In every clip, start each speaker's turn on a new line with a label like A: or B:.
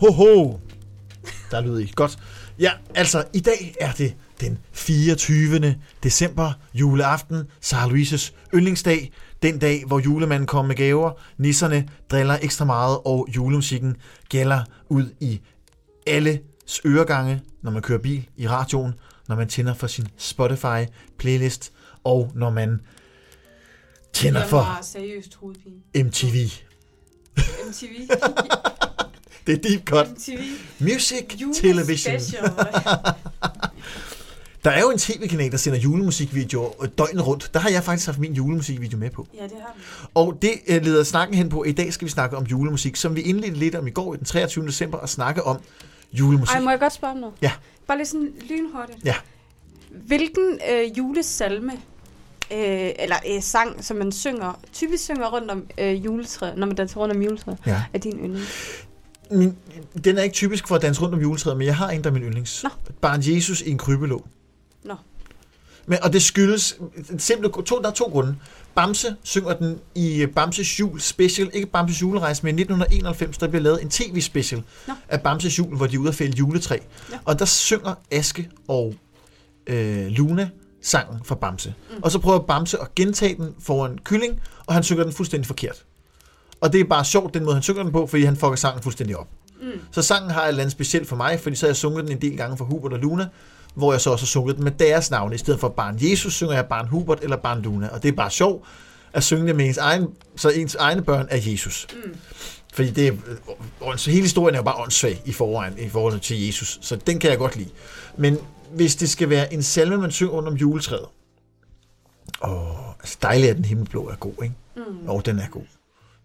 A: Ho, ho. Der lyder I. Godt. Ja, altså, i dag er det den 24. december, juleaften, Sara Louises yndlingsdag. Den dag, hvor julemanden kommer med gaver, nisserne driller ekstra meget, og julemusikken gælder ud i alles øregange, når man kører bil i radioen, når man tænder for sin Spotify-playlist, og når man tænder
B: Jeg
A: for
B: har seriøst hovedpine.
A: MTV.
B: MTV.
A: Det er deep cut.
B: MTV.
A: Music
B: Jule
A: Television.
B: Special.
A: Der er jo en tv-kanal, der sender julemusikvideoer øh, døgnet rundt. Der har jeg faktisk haft min julemusikvideo med på.
B: Ja, det har vi.
A: Og det øh, leder snakken hen på, at i dag skal vi snakke om julemusik, som vi indledte lidt om i går, den 23. december, og snakke om julemusik.
B: Ej, må jeg godt spørge om noget?
A: Ja.
B: Bare lige sådan lynhurtigt.
A: Ja.
B: Hvilken øh, julesalme, øh, eller øh, sang, som man synger, typisk synger rundt om øh, juletræet, når man danser rundt om juletræet,
A: Ja.
B: er din yndling?
A: Min, den er ikke typisk for at danse rundt om juletræet, men jeg har en, der er min yndlings.
B: Nå.
A: Barn Jesus i en krybelåg.
B: Nå.
A: Men, og det skyldes, simple, to, der er to grunde. Bamse synger den i øh, Bamses jul special, ikke Bamses julerejse, men i 1991, der bliver lavet en tv-special
B: Nå.
A: af Bamses jul, hvor de er ude at fælde juletræ.
B: Ja.
A: Og der synger Aske og øh, Luna sangen fra Bamse. Mm. Og så prøver Bamse at gentage den foran Kylling, og han synger den fuldstændig forkert. Og det er bare sjovt, den måde han synger den på, fordi han fucker sangen fuldstændig op.
B: Mm.
A: Så sangen har et eller andet specielt for mig, fordi så har jeg sunget den en del gange for Hubert og Luna, hvor jeg så også har sunget den med deres navne. I stedet for barn Jesus synger jeg barn Hubert eller barn Luna. Og det er bare sjovt at synge det med ens egen, så ens egne børn er Jesus.
B: Mm.
A: Fordi det er, øh, ånds- hele historien er jo bare åndssvag i forvejen i forhold til Jesus, så den kan jeg godt lide. Men hvis det skal være en salme, man synger under om juletræet, åh, altså dejligt at den himmelblå er god, ikke?
B: Mm.
A: Jo, den er god.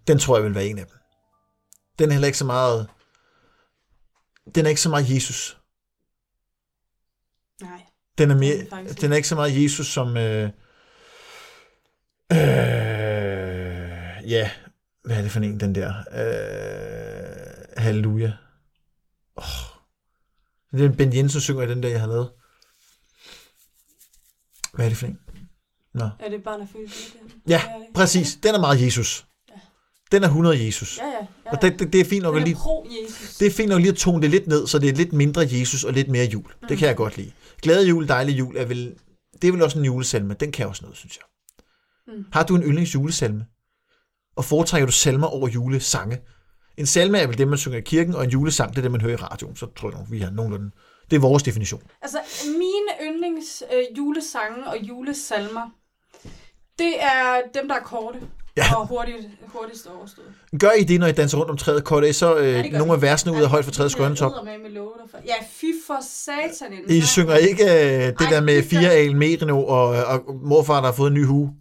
A: Den tror jeg vil være en af dem. Den er heller ikke så meget... Den er ikke så meget Jesus.
B: Nej.
A: Den er,
B: er den
A: mere,
B: faktisk
A: den er ikke så meget Jesus som... Øh, øh, ja, hvad er det for en, den der? Øh, halleluja. Oh. Den Ben Jensen synger i den der, jeg har lavet. Hvad er det for en? Nå.
B: Er det barn af følelse?
A: Ja, præcis. Den er meget Jesus. Den er 100 Jesus.
B: Ja, ja. ja.
A: Og det, det, det er fint nok at
B: Den
A: lige...
B: er pro-Jesus.
A: Det er fint nok lige at tone det lidt ned, så det er lidt mindre Jesus og lidt mere jul. Det
B: Mm.
A: kan jeg godt lide. Glade jul, dejlig jul er vel... Det er vel også en julesalme. Den kan også noget, synes jeg.
B: Mm.
A: Har du en yndlingsjulesalme? Og foretrækker du salmer over julesange? En salme er vel det, man synger i kirken, og en julesang, det er det, man hører i radioen. Så tror jeg, nok, vi har nogenlunde... Det er vores definition.
B: Altså, mine yndlings øh, julesange og julesalmer, det er dem, der er korte
A: Ja.
B: og hurtigt, hurtigst overstået.
A: Gør I det, når I danser rundt om træet? Korte I så øh,
B: Ja, det gør
A: nogle
B: vi.
A: af versene ud af højt for træets grønne top?
B: top. Ja, fy for satan. en
A: I
B: sang.
A: synger ikke øh, det
B: Ej,
A: der med
B: det gør-
A: fire al merino og, og morfar, der har fået en ny hue?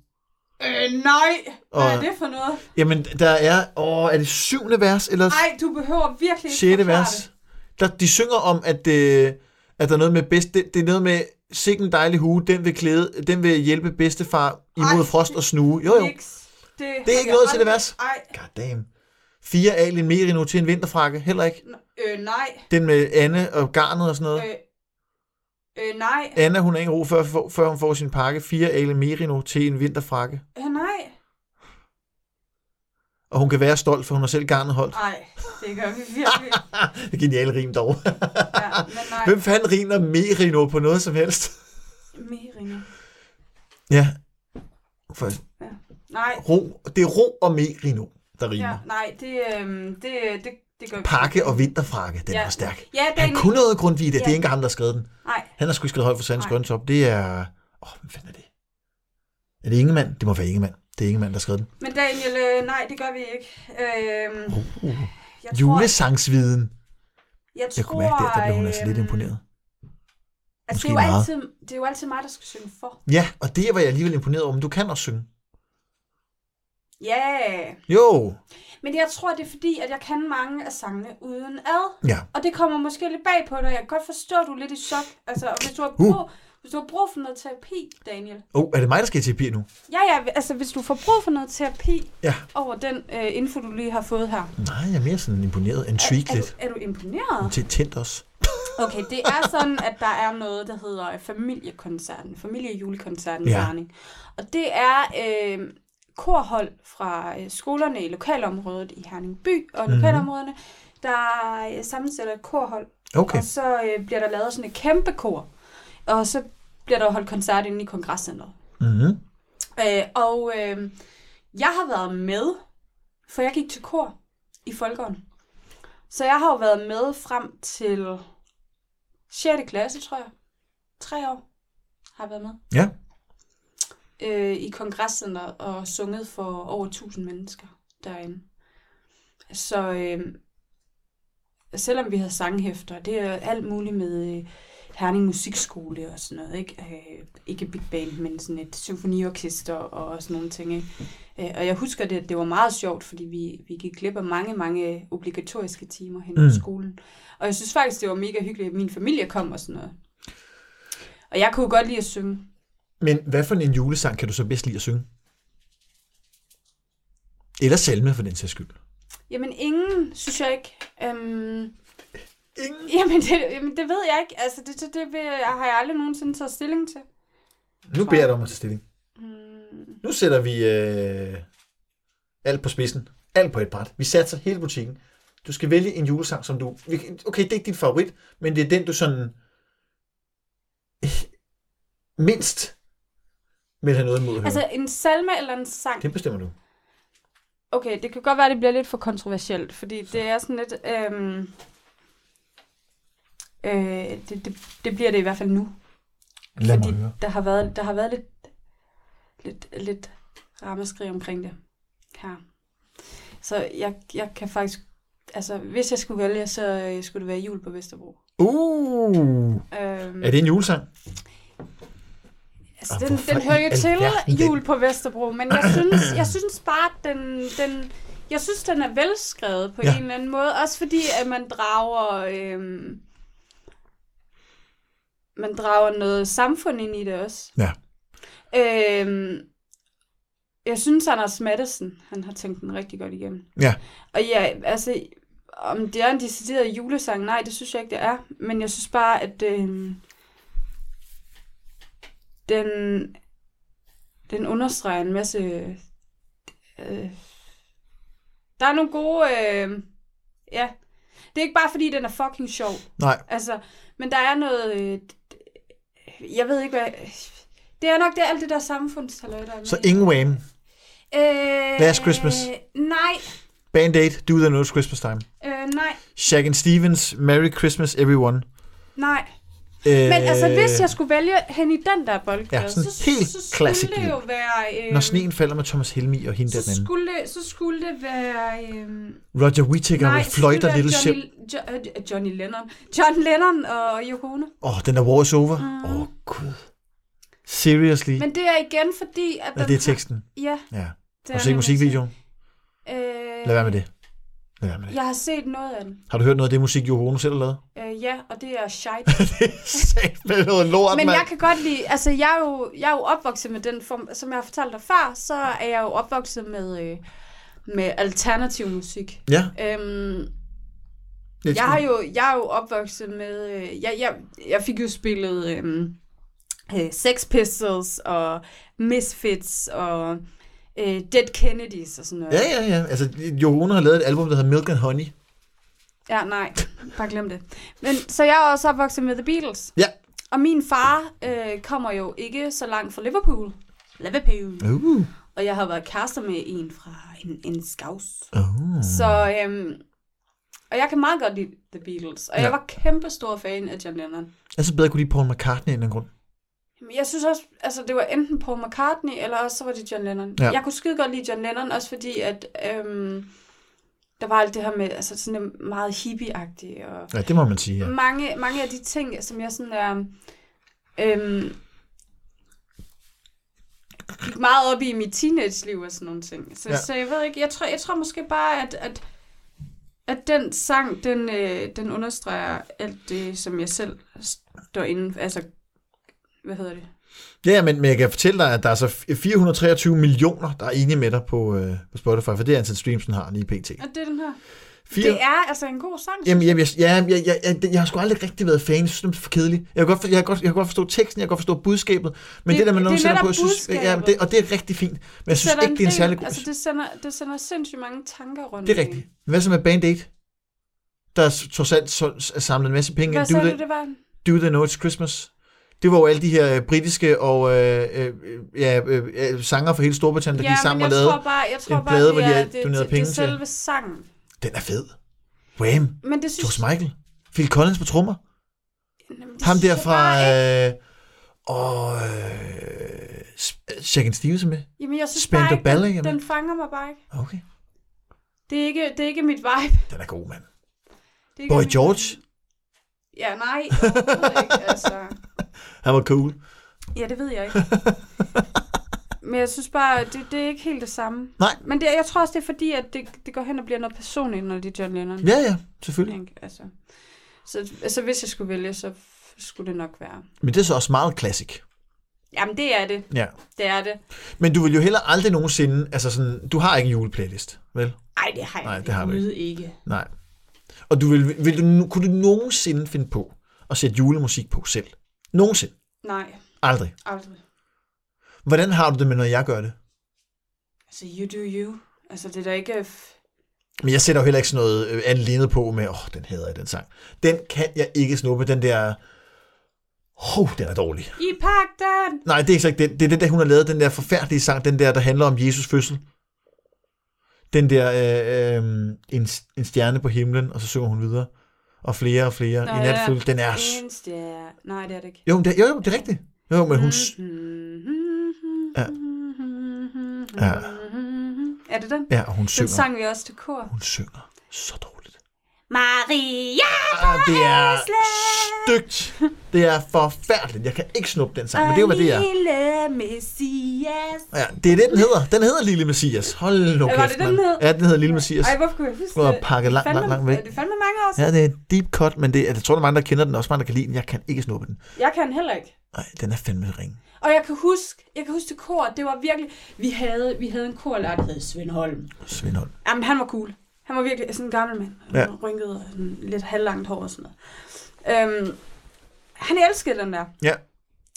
B: Øh, nej. Hvad
A: Og-
B: er det for noget?
A: Jamen, der er... Åh, er det syvende vers, eller
B: Nej, du behøver virkelig ikke
A: sjette
B: forklare
A: vers? Der, de synger om, at, øh, at der er noget med bedst... Det, det er noget med, sikke en dejlig hue, den vil, klæde, den vil hjælpe bedstefar imod
B: Ej,
A: frost og snue. Jo,
B: det.
A: jo.
B: Niks. Det,
A: Det er ikke noget til det vers.
B: Nej,
A: Goddamn. Fire al en merino til en vinterfrakke, heller ikke.
B: øh, nej,
A: Den med Anne og garnet og sådan noget.
B: øh, øh, nej,
A: Anna, hun er ikke ro, før, før- før hun får sin pakke. Fire al en merino til en vinterfrakke.
B: øh, nej.
A: Og hun kan være stolt, for hun har selv garnet holdt.
B: Nej, det gør vi virkelig.
A: Det er geniale rim dog.
B: Ja, men nej.
A: Hvem fanden rimer merino på noget som helst?
B: Meringer.
A: Ja. For
B: Nej,
A: ro, det er ro og merino, der rimer.
B: Ja,
A: Ja.
B: nej, det, øhm, det, det, det gør vi
A: Pakke
B: ikke.
A: og vinterfrakke, den ja.
B: Ja.
A: var stærk.
B: Ja,
A: Han
B: den...
A: kunne noget Grundtvig, det, ja.
B: Ja.
A: det er ikke ham, der skrev den.
B: Nej,
A: Han har sgu ikke skrevet højt for Sandens
B: Nej.
A: Grønne Top. Det er... Åh, oh, hvad fanden er det? Er det Ingemann? Det må være Ingemann. Det er Ingemann, der skrev den.
B: men Daniel, øh, nej, det gør vi ikke. Øhm,
A: Uh,
B: jeg
A: julesangsviden.
B: tror, jeg, tror,
A: Jeg kunne mærke der, der blev hun altså lidt
B: øhm,
A: imponeret.
B: Altså, det
A: Måske
B: er, jo
A: meget.
B: altid, det er jo altid mig, der skal synge for.
A: Ja, og det var jeg alligevel imponeret over, men du kan også synge.
B: Ja,
A: Jo.
B: men jeg tror, det er fordi, at jeg kan mange af sangene uden ad.
A: Ja.
B: Og det kommer måske lidt bag på dig. Jeg kan godt forstå, at du er lidt i chok. Altså, og hvis du har
A: Uh.
B: brug, hvis du har brug for noget terapi, Daniel.
A: Åh, oh, er det mig, der skal i terapi nu?
B: Ja, ja, altså hvis du får brug for noget terapi
A: Ja.
B: over den øh, info, du lige har fået her.
A: Nej, jeg er mere sådan imponeret. En
B: Er,
A: tweak
B: er,
A: lidt.
B: du, er du imponeret?
A: Til tændt os.
B: Okay, det er sådan, at der er noget, der hedder familiekoncerten, familiejulekoncerten i
A: Ja.
B: Varning. Og det er øh, korhold fra øh, skolerne i lokalområdet i Herning By og
A: Mhm.
B: lokalområderne, der øh, sammensætter et korhold,
A: Okay.
B: og så øh, bliver der lavet sådan et kæmpe kor, og så bliver der holdt koncert inde i kongresscenteret.
A: Mm-hmm.
B: Øh, og øh, jeg har været med, for jeg gik til kor i Folkeånden. Så jeg har jo været med frem til 6. klasse, tror jeg. Tre år har jeg været med.
A: Ja.
B: Øh, I kongresscenteret og sunget for over 1000 mennesker derinde. Så øh, selvom vi havde sanghæfter, det er alt muligt med øh, Herning Musikskole og sådan noget, ikke? Øh, ikke Big Band, men sådan et symfoniorkester og sådan nogle ting, ikke? Øh, og jeg husker, det, det var meget sjovt, fordi vi, vi gik glip af mange, mange obligatoriske timer hen
A: Mm.
B: mm. skolen. Og jeg synes faktisk, det var mega hyggeligt, at min familie kom og sådan noget. Og jeg kunne godt lide at synge.
A: Men hvad for en julesang kan du så bedst lide at synge? Eller salme, for den sags skyld.
B: Jamen ingen, synes jeg ikke. Øhm,
A: Ingen.
B: jamen, det, jamen det ved jeg ikke. Altså det, det, det vil, har jeg aldrig nogensinde taget stilling til.
A: Nu beder jeg dig om at tage stilling.
B: Mm.
A: Nu sætter vi øh, alt på spidsen. Alt på et bræt. Vi satser hele butikken. Du skal vælge en julesang, som du... vi kan- Okay, det er ikke din favorit, men det er den, du sådan... øh, Mindst vil have noget imod at høre. Altså...
B: Altså en salme eller en sang?
A: Det bestemmer du.
B: Okay, det kan godt være, at det bliver lidt for kontroversielt, fordi det er sådan lidt... Øhm, øh, det, det, det bliver det i hvert fald nu. fordi der har været, der har været lidt, lidt, lidt rammeskrig omkring det her. Så jeg, jeg kan faktisk... Altså, hvis jeg skulle vælge, så øh, skulle det være jul på Vesterbro.
A: Uh,
B: Øhm,
A: er det en julesang?
B: Altså,
A: Og
B: den,
A: hvorfor
B: den hører
A: i
B: jo til
A: alverden den?
B: jul på Vesterbro, men jeg synes, jeg synes bare, at den, den, jeg synes, den er velskrevet på
A: Ja.
B: ja. en eller anden måde. Også fordi, at man drager, øhm, man drager noget samfund ind i det også.
A: Ja.
B: Øhm, jeg synes, Anders Mattesen, han har tænkt den rigtig godt igennem.
A: Ja.
B: Og ja, altså, om det er en decideret julesang, nej, det synes jeg ikke, det er. Men jeg synes bare, at øh, den, den understreger en masse... Øh, der er nogle gode... Øh, ja, det er ikke bare, fordi den er fucking sjov.
A: Nej.
B: Altså, men der er noget... Øh, d- jeg ved ikke, hvad... Det er nok det, alt det der samfundstalløj, der er med.
A: Så ingen Wham.
B: øh,
A: Last Christmas.
B: Nej,
A: Band Aid, Do the Nose Christmas Time.
B: øh, nej,
A: Shaq and Stevens, Merry Christmas Everyone.
B: nej.
A: Øh,
B: Men altså, hvis jeg skulle vælge hen i den der boldgade,
A: Ja,
B: ja,
A: sådan
B: så,
A: helt
B: så skulle
A: classic
B: det jo være... Øh,
A: Når sneen falder med Thomas Helmi og hende der den
B: så
A: anden.
B: skulle, det- så skulle det være... Øh,
A: Roger Whittaker med
B: så
A: fløjter
B: skulle
A: Little
B: det
A: Ship.
B: være Johnny, jo, øh, Johnny Lennon. John Lennon og Yoko Ono.
A: Åh, oh, den er War is Over. Åh,
B: Mm.
A: oh, gud. Seriously. Men,
B: Men det er igen fordi, at...
A: er
B: den
A: det er
B: har-
A: teksten?
B: Ja.
A: Ja. Har du
B: Det er altså-
A: set
B: den,
A: musikvideoen?
B: Øh,
A: Lad være med det. Lad være med det.
B: Jeg har set noget af den.
A: Har du hørt noget af det musik, Johono selv har lavet?
B: Øh, ja, og det er shite.
A: Sæt med noget lort,
B: Men
A: mand.
B: jeg kan godt lide, altså jeg er jo, jeg er jo opvokset med den form, som jeg har fortalt dig før, så er jeg jo opvokset med, øh, med alternativ musik.
A: Ja.
B: Øhm,
A: Jeg,
B: jeg, har jo, jeg er jo opvokset med, øh, jeg, jeg, jeg fik jo spillet øhm, øh, Sex Pistols og Misfits og øh, Dead Kennedys og sådan noget.
A: Ja, ja, ja. Altså, Johono har lavet et album, der hedder Milk and Honey.
B: Ja, nej. Bare glem det. Men, så jeg er også opvokset med The Beatles.
A: Ja.
B: Og min far øh, kommer jo ikke så langt fra Liverpool. Liverpool.
A: Uh.
B: Og jeg har været kærester med en fra en, en skavs.
A: Oh.
B: Så, øhm, og jeg kan meget godt lide The Beatles. Og
A: Ja.
B: jeg var kæmpe stor fan af John Lennon.
A: Jeg så Altså, bedre kunne lide Paul McCartney end den grund.
B: Men jeg synes også, altså det var enten Paul McCartney, eller også så var det John Lennon.
A: Ja.
B: Ja. Jeg kunne skide godt lide John Lennon, også fordi at øhm, der var alt det her med, altså sådan lidt meget hippie-agtigt, og
A: Ja, det må man sige, ja.
B: ja. mange, mange af de ting, som jeg sådan er... Øhm, gik meget op i mit teenage-liv og sådan nogle ting. Så,
A: Ja.
B: ja. så jeg ved ikke, jeg tror, jeg tror måske bare, at, at, at den sang, den, øh, den understreger alt det, som jeg selv står inden for. Altså, hvad hedder det?
A: Ja, men, men jeg kan fortælle dig, at der er så 423 millioner, der er enige med dig på, øh, på Spotify, for det er antal streams, den har lige pt.
B: Og det er den her.
A: Fire-
B: Det er altså en god sang.
A: Jamen, jeg, jeg, jeg, jeg, jeg, jeg, jeg har sgu aldrig rigtig været fan. Jeg synes, det er for kedeligt. Jeg kan, godt, for- jeg, kan godt, jeg kan godt forstå teksten, jeg kan godt forstå budskabet. Men det,
B: Det-
A: det der med, når
B: det
A: du
B: er
A: sætter
B: netop
A: på, jeg synes, ja, men
B: budskabet.
A: det, og det er rigtig fint. Men jeg synes
B: sætter
A: ikke, det er en
B: del-
A: særlig god...
B: Altså, det sender, det sender sindssygt mange tanker rundt.
A: det er
B: omkring.
A: rigtigt. Hvad så med Band Aid? der s- trods alt så- s- samlede en masse penge.
B: Hvad
A: ind.
B: sagde
A: Do,
B: du,
A: the,
B: det
A: do
B: var?
A: They Know It's Christmas. Det var jo alle de her øh, britiske og øh, øh, ja, øh, øh, sanger fra hele Storbritannien, der gik sammen og
B: jeg
A: lavede.
B: tror bare, jeg tror
A: en
B: bare,
A: plade,
B: det
A: hvor de
B: er,
A: havde
B: det,
A: doneret
B: det,
A: penge
B: det
A: til.
B: er selve sangen.
A: Den er fed. Wham!
B: Men det synes,
A: George Michael. Phil Collins på trommer.
B: Jamen, det
A: Ham
B: synes
A: der
B: jeg
A: fra...
B: bare
A: Øh,
B: ikke.
A: og... Øh, S- Shakin' Stevens er med.
B: Jamen, jeg synes
A: øh, Spandau
B: bare ikke,
A: Ballet,
B: den,
A: jamen. Ah,
B: den fanger mig bare ikke.
A: Okay.
B: Det er ikke, det er ikke mit vibe.
A: Den er god, mand.
B: Det er ikke
A: Boy
B: mit-
A: George.
B: Ja, nej. overhovedet ikke, altså.
A: Han var cool.
B: Ja, det ved jeg ikke. Men jeg synes bare, det, det er ikke helt det samme.
A: Nej.
B: Men det, jeg tror også, det er fordi, at det, det går hen og bliver noget personligt, når det er John Lennon.
A: Ja, ja. Selvfølgelig.
B: Ikke? Altså. Så altså, hvis jeg skulle vælge, så f- skulle det nok være.
A: Men det er så også meget classic.
B: Jamen, det er det.
A: Ja.
B: Det er det.
A: Men du vil jo heller aldrig nogensinde... Altså sådan... Du har ikke en juleplaylist, vel?
B: Ej, det har jeg
A: Nej, det har du
B: overhovedet ikke.
A: Nej. Og du vil, vil du, nu- kunne du nogensinde finde på at sætte julemusik på selv? Nogensinde.
B: Nej,
A: Aldrig.
B: aldrig.
A: Hvordan har du det med, når jeg gør det?
B: Altså, you do you. Altså, det er da ikke... F-
A: Men jeg sætter jo heller ikke sådan noget øh, andet lignet på med, åh, oh, den hedder jeg, den sang. Den kan jeg ikke snuppe, den der... Hov, oh, den er dårlig.
B: I pak den!
A: Nej, det er ikke sagt den. Det er den der, hun har lavet, den der forfærdelige sang, den der, der handler om Jesus fødsel. Den der, øh, øh, en, en stjerne på himlen, og så synger hun videre. Og flere og flere.
B: Nå,
A: I
B: ja.
A: natfølge, den er... s-
B: En stjerne. Nej, det er det ikke.
A: Jo, men det, jo, jo, det er rigtigt. Jo, men
B: Mm.
A: hun... s- Ja. Ja.
B: Er det den?
A: Ja, og hun
B: Den
A: synger.
B: sang vi også til kor.
A: Hun synger så dårligt.
B: Maria!
A: Ah, det er stygt. Det er forfærdeligt. Jeg kan ikke snuppe den sang, men det er jo, hvad det er.
B: Lille Messias.
A: Ja, det er det, den hedder. Den hedder Lille Messias. Hold nu
B: Var
A: kæft,
B: det den, den
A: mand.
B: hed?
A: Ja, den hedder Lille Messias.
B: Ej, hvorfor kunne jeg huske
A: Nu har jeg
B: det?
A: pakket langt,
B: Fandme-
A: langt, langt væk.
B: Det er fandme mange år siden.
A: Ja, det er deep cut, men det, jeg tror, der er mange, der kender den. Også mange, der kan lide den. Jeg kan ikke snuppe den.
B: Jeg kan heller ikke.
A: Nej, den er fandme ring.
B: Og jeg kan huske, jeg kan huske til kor, det var virkelig, vi havde, vi havde en korlærer, der hed Svend Holm.
A: Svindhold.
B: Jamen, han var cool. Han var virkelig sådan en gammel mand. Han
A: Ja.
B: ja. rynkede og sådan lidt halvlangt hår og sådan noget. Øhm, han elskede den der.
A: Ja.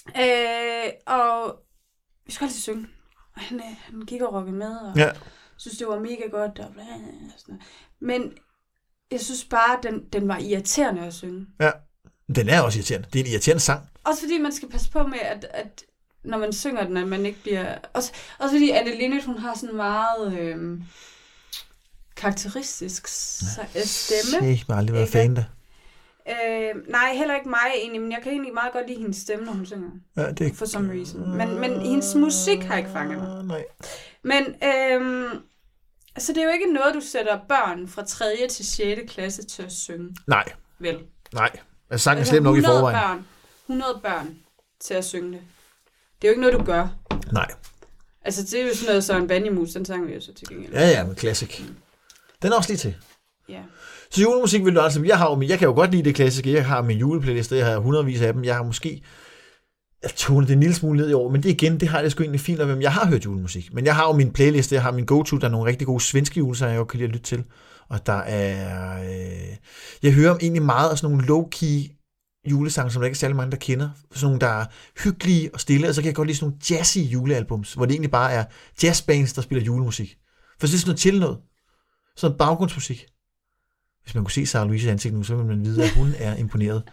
B: Øh, og vi skulle altid synge. Og han, øh, han gik og rockede med, og
A: Ja.
B: synes, det var mega godt. Og bla, bla, bla, og sådan noget. Men jeg synes bare, den, den var irriterende at synge.
A: Den er også irriterende. Det er en irriterende sang.
B: Også fordi man skal passe på med, at, at når man synger den, at man ikke bliver... Også, også fordi Anne Linnet, hun har sådan en meget øh, karakteristisk sa- øh,
A: Se,
B: stemme.
A: jeg har aldrig været
B: Ikke?
A: fan der.
B: Øh, nej, heller ikke mig egentlig, men jeg kan egentlig meget godt lide hendes stemme, når hun synger.
A: Ja, det er...
B: For some reason. Men, men hendes musik har ikke fanget mig.
A: Nej.
B: Men øhm, altså, det er jo ikke noget, du sætter børn fra 3. til 6. klasse til at synge,
A: Nej,
B: vel?
A: nej. Altså, sangen er slem nok i forvejen.
B: børn, 100 børn til at synge det. Det er jo ikke noget, du gør.
A: Nej.
B: Altså, det er jo sådan noget, så en vandemus, den sang vi jo så til gengæld.
A: Ja, ja, men classic. Den er også lige til.
B: ja.
A: Så julemusik vil du altså... Jeg, har jo, min- jeg kan jo godt lide det klassiske. Jeg har min juleplayliste. Jeg har hundredvis af dem. Jeg har måske jeg tonet det en lille smule ned i år, men det igen, det har jeg det sgu egentlig fint med, men jeg har hørt julemusik. Men jeg har jo min playliste, jeg har min go-to, der er nogle rigtig gode svenske julesager, jeg godt kan lide at lytte til. Og der er... Øh, jeg hører egentlig meget af sådan nogle low-key julesange, som der ikke er særlig mange, der kender. Sådan nogle, der er hyggelige og stille, og så kan jeg godt lide sådan nogle jazzy julealbums, hvor det egentlig bare er jazzbands, der spiller julemusik. For så er det sådan noget chill noget. Sådan noget baggrundsmusik. Hvis man kunne se Sarah Louise's ansigt nu, så ville man vide, at hun er imponeret.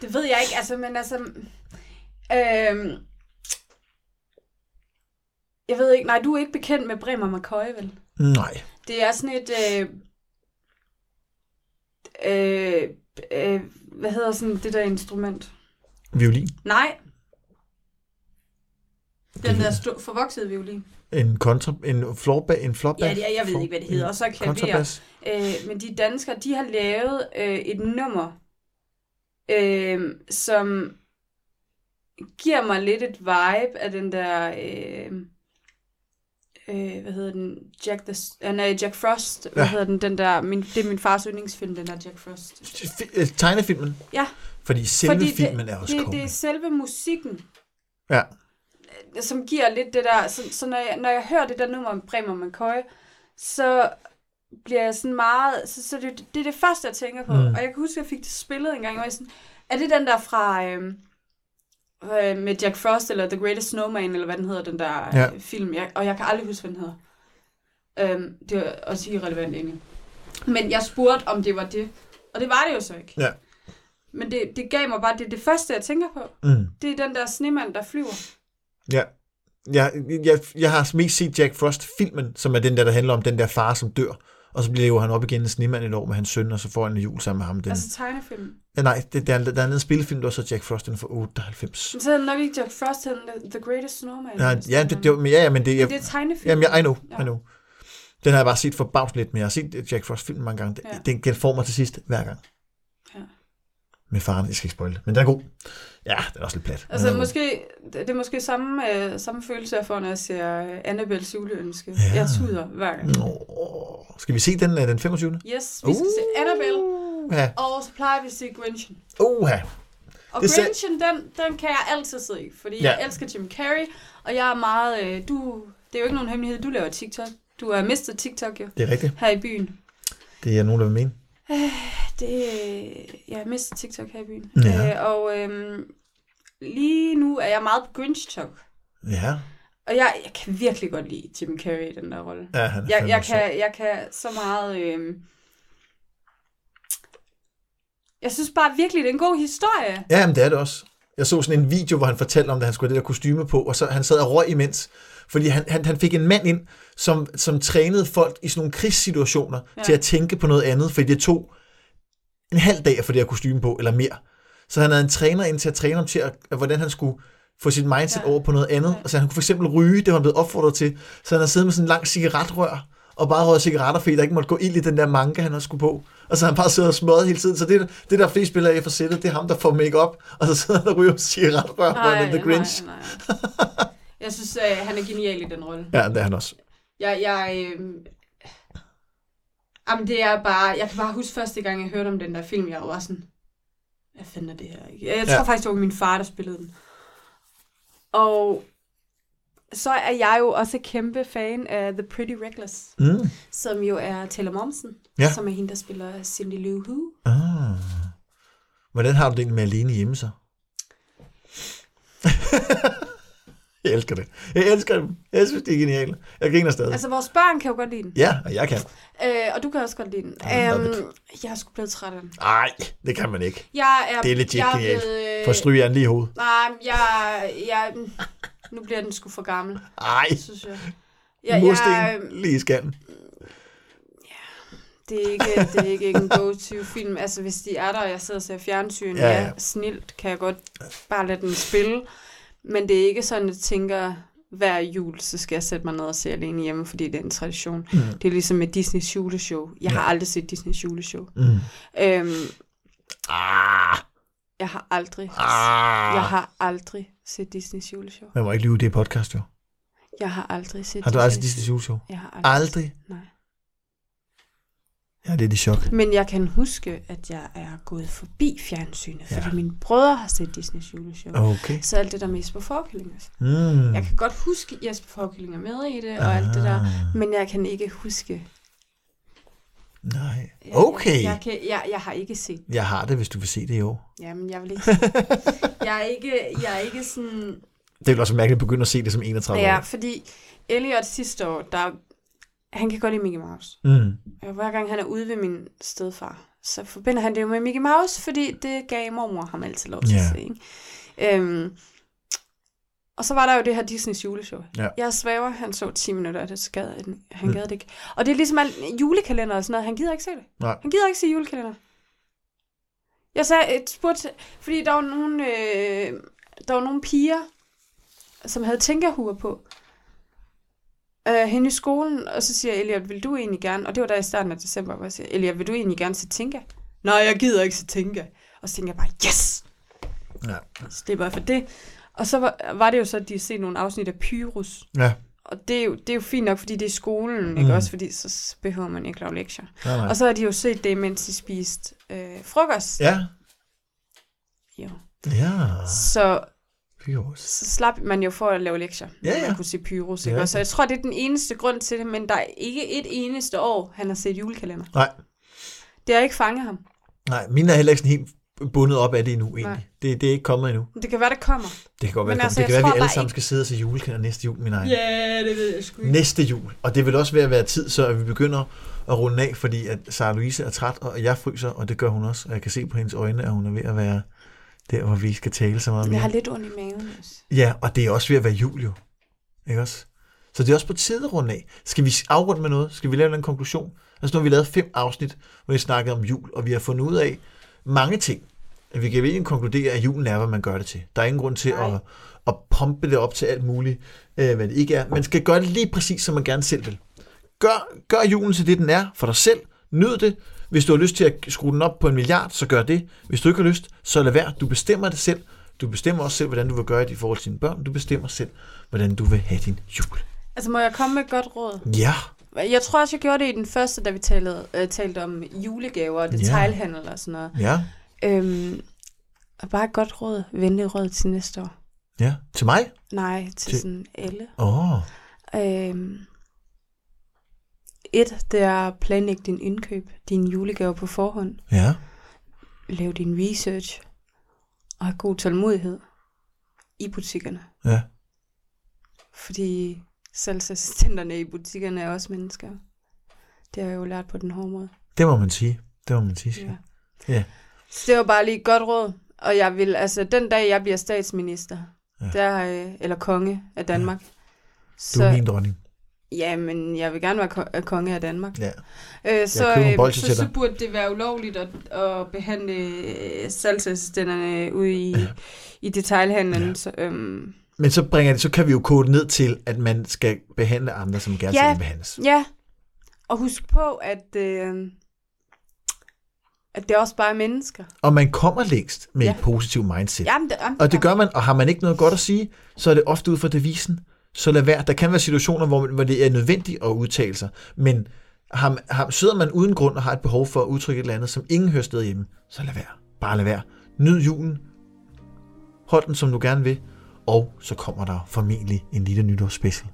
B: Det ved jeg ikke, altså, men altså... Øhm, jeg ved ikke, nej, du er ikke bekendt med Bremer McCoy, vel?
A: Nej.
B: Det er sådan et... Øh, øh, øh, hvad hedder sådan det der instrument?
A: Violin.
B: Nej. Den
A: Det-
B: der sto- forvoksede violin.
A: En kontra... En florba... En florba...
B: Ja, det er, jeg ved ikke, hvad det hedder. Og så klaver.
A: Kontrabas.
B: Øh, men de danskere, de har lavet øh, et nummer, øh, som giver mig lidt et vibe af den der... Øh, øh, hvad hedder den? Jack, the, uh, nej, Jack Frost. Hvad
A: Ja.
B: ja. hedder den? den der, min, det er min fars yndlingsfilm, den der Jack Frost.
A: Fi- øh, Tegnefilmen.
B: Ja.
A: Fordi selve
B: Fordi
A: Fordi
B: det-
A: filmen er også
B: det,
A: kongen.
B: det er selve musikken,
A: Ja.
B: øh, som giver lidt det der... Så, så når, jeg, når jeg hører det der nummer om Bremer McCoy, så bliver jeg sådan meget... Så, så det, det er det første, jeg tænker på.
A: Mm.
B: Mm. Og jeg kan huske, at jeg fik det spillet en gang, og jeg sådan... Er det den der fra... Øh, øh, med Jack Frost, eller The Greatest Snowman, eller hvad den hedder, den der øh,
A: Ja.
B: ja. film. Jeg, og jeg kan aldrig huske, hvad den hedder. Øhm, det er også irrelevant egentlig. Men jeg spurgte, om det var det. Og det var det jo så ikke.
A: Ja.
B: Men det, det gav mig bare det, det første, jeg tænker på.
A: Mm.
B: Det er den der snemand, der flyver.
A: Ja. Jeg, jeg, jeg har mest set Jack Frost-filmen, som er den der, der handler om den der far, som dør. Og så bliver jo han op igen en snemand et år med hans søn, og så får han en jul sammen med ham. Den.
B: Altså tegnefilm.
A: Ja, nej, det, der, er- der er en spillefilm, der er så Jack Frost, den er fra 98.
B: Men så er det nok ikke Jack Frost, han er The Greatest Snowman.
A: Ja, ja, det, det, var- men ja, ja, men det, jeg,
B: det er tegnefilm.
A: Jamen, jeg, I know,
B: Ja.
A: I know. Den har jeg bare set forbavs lidt, men jeg har set Jack Frost film mange gange. Den,
B: Ja.
A: den, den får mig til sidst hver gang.
B: Ja.
A: Med faren, jeg skal ikke spoil det. Men den er god. Ja, den er også lidt plat. men
B: Altså
A: den er god.
B: måske, det er måske samme, øh, samme følelse, jeg får, når jeg ser øh, Annabelles juleønske.
A: Ja.
B: Ja. Jeg tuder hver gang.
A: Nå, skal vi se den øh, den 25.
B: Yes, vi
A: Uh.
B: skal se Annabelle,
A: Ja,
B: og så plejer vi at se Grinchen.
A: uha.
B: Og
A: Det ser-
B: Grinchen, den, den kan jeg altid se, i, fordi
A: Ja.
B: ja. jeg elsker Jim Carrey, og jeg er meget, øh, du, det er jo ikke nogen hemmelighed, du laver TikTok. Du er mister TikTok jo,
A: Det er rigtigt.
B: her i byen.
A: Det er nogen, der vil mene.
B: Det, øh, jeg er mister TikTok her i byen.
A: Ja.
B: Øh, og øh, lige nu er jeg meget på Grinch-talk.
A: Ja,
B: Og jeg, jeg kan virkelig godt lide Jim Carrey i den der rolle.
A: ja han er
B: jeg,
A: fandme
B: jeg,
A: sjov.
B: kan, jeg kan så meget... Øh... Jeg synes bare virkelig, det er en god historie.
A: Ja, men det er det også. Jeg så sådan en video, hvor han fortalte om, at han skulle have det der kostyme på, og så han sad og røg imens. Fordi han, han, han fik en mand ind, som, som trænede folk i sådan nogle krigssituationer ja.
B: Ja.
A: til at tænke på noget andet, fordi det tog en halv dag at få det her kostyme på, eller mere. Så han havde en træner ind til at træne ham til, at, at hvordan han skulle få sit mindset ja.
B: Ja.
A: over på noget andet.
B: Ja.
A: Altså han kunne for eksempel ryge, det var han blevet opfordret til. Så han havde siddet med sådan en lang cigaretrør, og bare røget cigaretter, fordi der ikke måtte gå ild i den der manke, han også skulle på. Og så har han bare siddet og smøget hele tiden. Så det, det der flest spillere af for sættet, det er ham, der får makeup og så sidder han og ryger cigaretrør på den The Grinch.
B: nej, nej. Jeg synes, øh, han er genial i den rolle.
A: Ja, det er han også.
B: Jeg, jeg, øh... Jamen, det er bare... Jeg kan bare huske første gang, jeg hørte om den der film, jeg var sådan... Hvad fanden er det her? Ikke? Jeg tror
A: Ja.
B: ja. faktisk, det var min far, der spillede den. Og så er jeg jo også kæmpe fan af The Pretty Reckless.
A: Mm.
B: som jo er Taylor Momsen,
A: Ja.
B: ja. som er hende, der spiller Cindy Lou Who.
A: Ah. Hvordan har du det egentlig med alene hjemme så? jeg elsker det. Jeg elsker dem. Jeg synes, det er genialt. Jeg griner stadig. Altså,
B: Altså, vores børn kan jo godt lide den.
A: ja, og jeg kan.
B: Øh, og du kan også godt lide den.
A: Ja,
B: Øhm,
A: love
B: jeg er sgu blevet træt af den.
A: Nej, det kan man ikke.
B: Jeg er,
A: Det er legit
B: jeg er
A: genialt.
B: blevet, øh,
A: For stryg jer lige i hovedet.
B: Nej, men jeg, jeg... Nu bliver den sgu for gammel,
A: Ej,
B: synes jeg.
A: ja,
B: Jeg, øh, jeg,
A: mursten lige i skallen.
B: det, er ikke, det er ikke en go-to-film. Altså, hvis de er der, og jeg sidder og ser fjernsyn,
A: Ja,
B: ja,
A: ja.
B: ja. snilt, kan jeg godt bare lade den spille. Men det er ikke sådan, at jeg tænker, hver jul, så skal jeg sætte mig ned og se alene hjemme, fordi det er en tradition.
A: Mm.
B: Det er ligesom med Disneys juleshow. Jeg har aldrig set Disneys juleshow.
A: Mm.
B: Øhm,
A: Ah,
B: jeg har aldrig...
A: ah.
B: Jeg har aldrig set Disneys juleshow.
A: Man må ikke lyve, det er podcast jo.
B: Jeg har aldrig set
A: Har du
B: Disney-
A: aldrig set Disney's juleshow?
B: Jeg har aldrig.
A: Aldrig.
B: Nej.
A: Jeg er lidt i chok.
B: Men jeg kan huske, at jeg er gået forbi fjernsynet,
A: Ja.
B: fordi mine brødre har set Disneys juleshow.
A: Okay.
B: Så alt det der med Jesper Forkylling. altså.
A: Mm.
B: Jeg kan godt huske, at Jesper Forkylling er med i det, og alt det der.
A: Ah,
B: Men jeg kan ikke huske...
A: Nej.
B: Jeg,
A: Okay.
B: Jeg, jeg, kan, jeg, jeg har ikke set
A: Jeg har det, hvis du vil se det i år.
B: Jamen, jeg vil ikke... jeg, er ikke jeg er ikke sådan...
A: Det er også mærkeligt at begynde at se det som 31
B: Ja,
A: ja.
B: fordi Elliot sidste år, der, han kan godt lide Mickey Mouse.
A: Mm.
B: Og Hver gang han er ude ved min stedfar, så forbinder han det jo med Mickey Mouse, fordi det gav mormor ham altid lov til
A: Ja.
B: at se. Ikke? Øhm, og så var der jo det her Disneys juleshow.
A: Ja.
B: Jeg svæver, han så 10 minutter, og det skad, han- han
A: Mm.
B: gad det ikke. Og det er ligesom alt julekalender og sådan noget, han gider ikke se det.
A: Nej.
B: Han gider ikke se julekalender. Jeg sagde et spurgt, fordi der var nogle, øh, der var nogle piger, som havde tænkerhuer på, øh, hende i skolen, og så siger jeg, Elliot, vil du egentlig gerne, og det var der i starten af december, hvor jeg siger, Elliot, vil du egentlig gerne se Tinka? Nej, jeg gider ikke se Tinka. Og så tænker jeg bare, yes!
A: Ja.
B: Så det var for det. Og så var, var det jo så, at de set nogle afsnit af Pyrus.
A: ja.
B: Og det er, jo, det er jo fint nok, fordi det er i skolen, mm.
A: Mm.
B: ikke også? Fordi så behøver man ikke lave lektier.
A: Nej, nej.
B: Og så har de jo set det, mens de spiste øh, frokost.
A: Ja.
B: Jo.
A: Ja.
B: Så,
A: Pyros.
B: så slap man jo for at lave lektier,
A: Ja,
B: når
A: ja.
B: man kunne se Pyrus.
A: Det er
B: Ikke?
A: rigtigt.
B: også? Så jeg tror, det er den eneste grund til det, men der er ikke et eneste år, han har set julekalender.
A: Nej.
B: Det har ikke fanget ham.
A: Nej, mine er heller ikke sådan helt bundet op af det endnu, egentlig.
B: Nej.
A: Det, det er ikke kommet endnu.
B: Men Det kan være, der kommer.
A: Det kan godt være,
B: Men
A: det
B: altså,
A: kommer. det kan være,
B: jeg tror
A: vi alle
B: bare
A: sammen
B: ikke-
A: skal sidde og se julekalender næste jul, min egen.
B: Ja, det ved jeg sgu
A: Næste jul. Og det vil også være, være tid, så at vi begynder at runde af, fordi at Sara Louise er træt, og jeg fryser, og det gør hun også. Og jeg kan se på hendes øjne, at hun er ved at være der, hvor vi skal tale så meget
B: Jeg
A: mere.
B: har lidt ondt i maven også.
A: Ja, og det er også ved at være jul jo. Ikke også? Så det er også på tide at runde af. Skal vi afrunde med noget? Skal vi lave en konklusion? Altså nu har vi lavet fem afsnit, hvor vi snakkede om jul, og vi har fundet ud af mange ting. Vi kan virkelig konkludere, at julen er, hvad man gør det til. Der er ingen grund til
B: Nej.
A: at, at pumpe det op til alt muligt, øh, hvad det ikke er. Man skal gøre det lige præcis, som man gerne selv vil. Gør, gør julen til det, den er for dig selv. Nyd det. Hvis du har lyst til at skrue den op på en milliard, så gør det. Hvis du ikke har lyst, så lad være. Du bestemmer det selv. Du bestemmer også selv, hvordan du vil gøre det i forhold til dine børn. Du bestemmer selv, hvordan du vil have din jul.
B: Altså, må jeg komme med et godt råd?
A: Ja,
B: Jeg tror også, jeg gjorde det i den første, da vi talte, øh, talte om julegaver og
A: Ja.
B: detailhandel og sådan noget.
A: ja,
B: Øhm, og bare et godt råd, venligt råd til næste år.
A: ja. Til mig?
B: Nej, til,
A: Til-
B: til... sådan alle.
A: Åh, oh,
B: Øhm, et, det er at planlægge din indkøb, din julegave på forhånd.
A: ja.
B: Lav din research og have god tålmodighed i butikkerne.
A: Ja.
B: Fordi salgsassistenterne i butikkerne er også mennesker. Det har jeg jo lært på den hårde måde.
A: Det må man sige. Det må man sige. Ja.
B: Ja.
A: Ja.
B: Så det var bare lige et godt råd. Og jeg vil, altså den dag jeg bliver statsminister,
A: Ja.
B: ja. der, øh, eller konge af Danmark, ja.
A: Du er
B: så,
A: min dronning.
B: jamen, jeg vil gerne være ko- konge af Danmark.
A: Ja.
B: Øh, så,
A: køber en
B: øh,
A: bolsje
B: så,
A: til
B: så
A: dig.
B: burde det være ulovligt at, at behandle øh, salgsassistenterne ude i, ja. i detailhandlen.
A: Ja.
B: Ja, så, øhm,
A: Men så bringer det, så kan vi jo kode ned til, at man skal behandle andre, som gerne
B: Ja.
A: skal behandles.
B: ja. og husk på, at, øh, at det er også bare er mennesker.
A: Og man kommer længst med ja.
B: Ja.
A: et positivt mindset. Ja.
B: Jamen, det, jamen,
A: Og det gør man, og har man ikke noget godt at sige, så er det ofte ud fra devisen, så lad være. Der kan være situationer, hvor, man, hvor det er nødvendigt at udtale sig, men har, har, sidder man uden grund og har et behov for at udtrykke et eller andet, som ingen hører sted hjemme, så lad være. Bare lad være. Nyd julen. Hold den, som du gerne vil. Og så kommer der formentlig en lille nytårsspecial.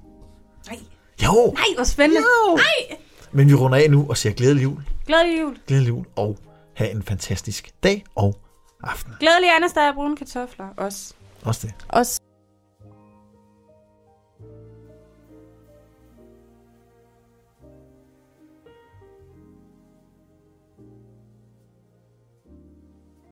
B: Nej,
A: Jo!
B: nej, hvor spændende.
A: Jo!
B: Nej,
A: Men vi runder af nu og siger glædelig jul.
B: glædelig jul.
A: glædelig jul, og have en fantastisk dag og aften.
B: Glædelig Anders, der er brune kartofler. Også.
A: Også det.
B: Også.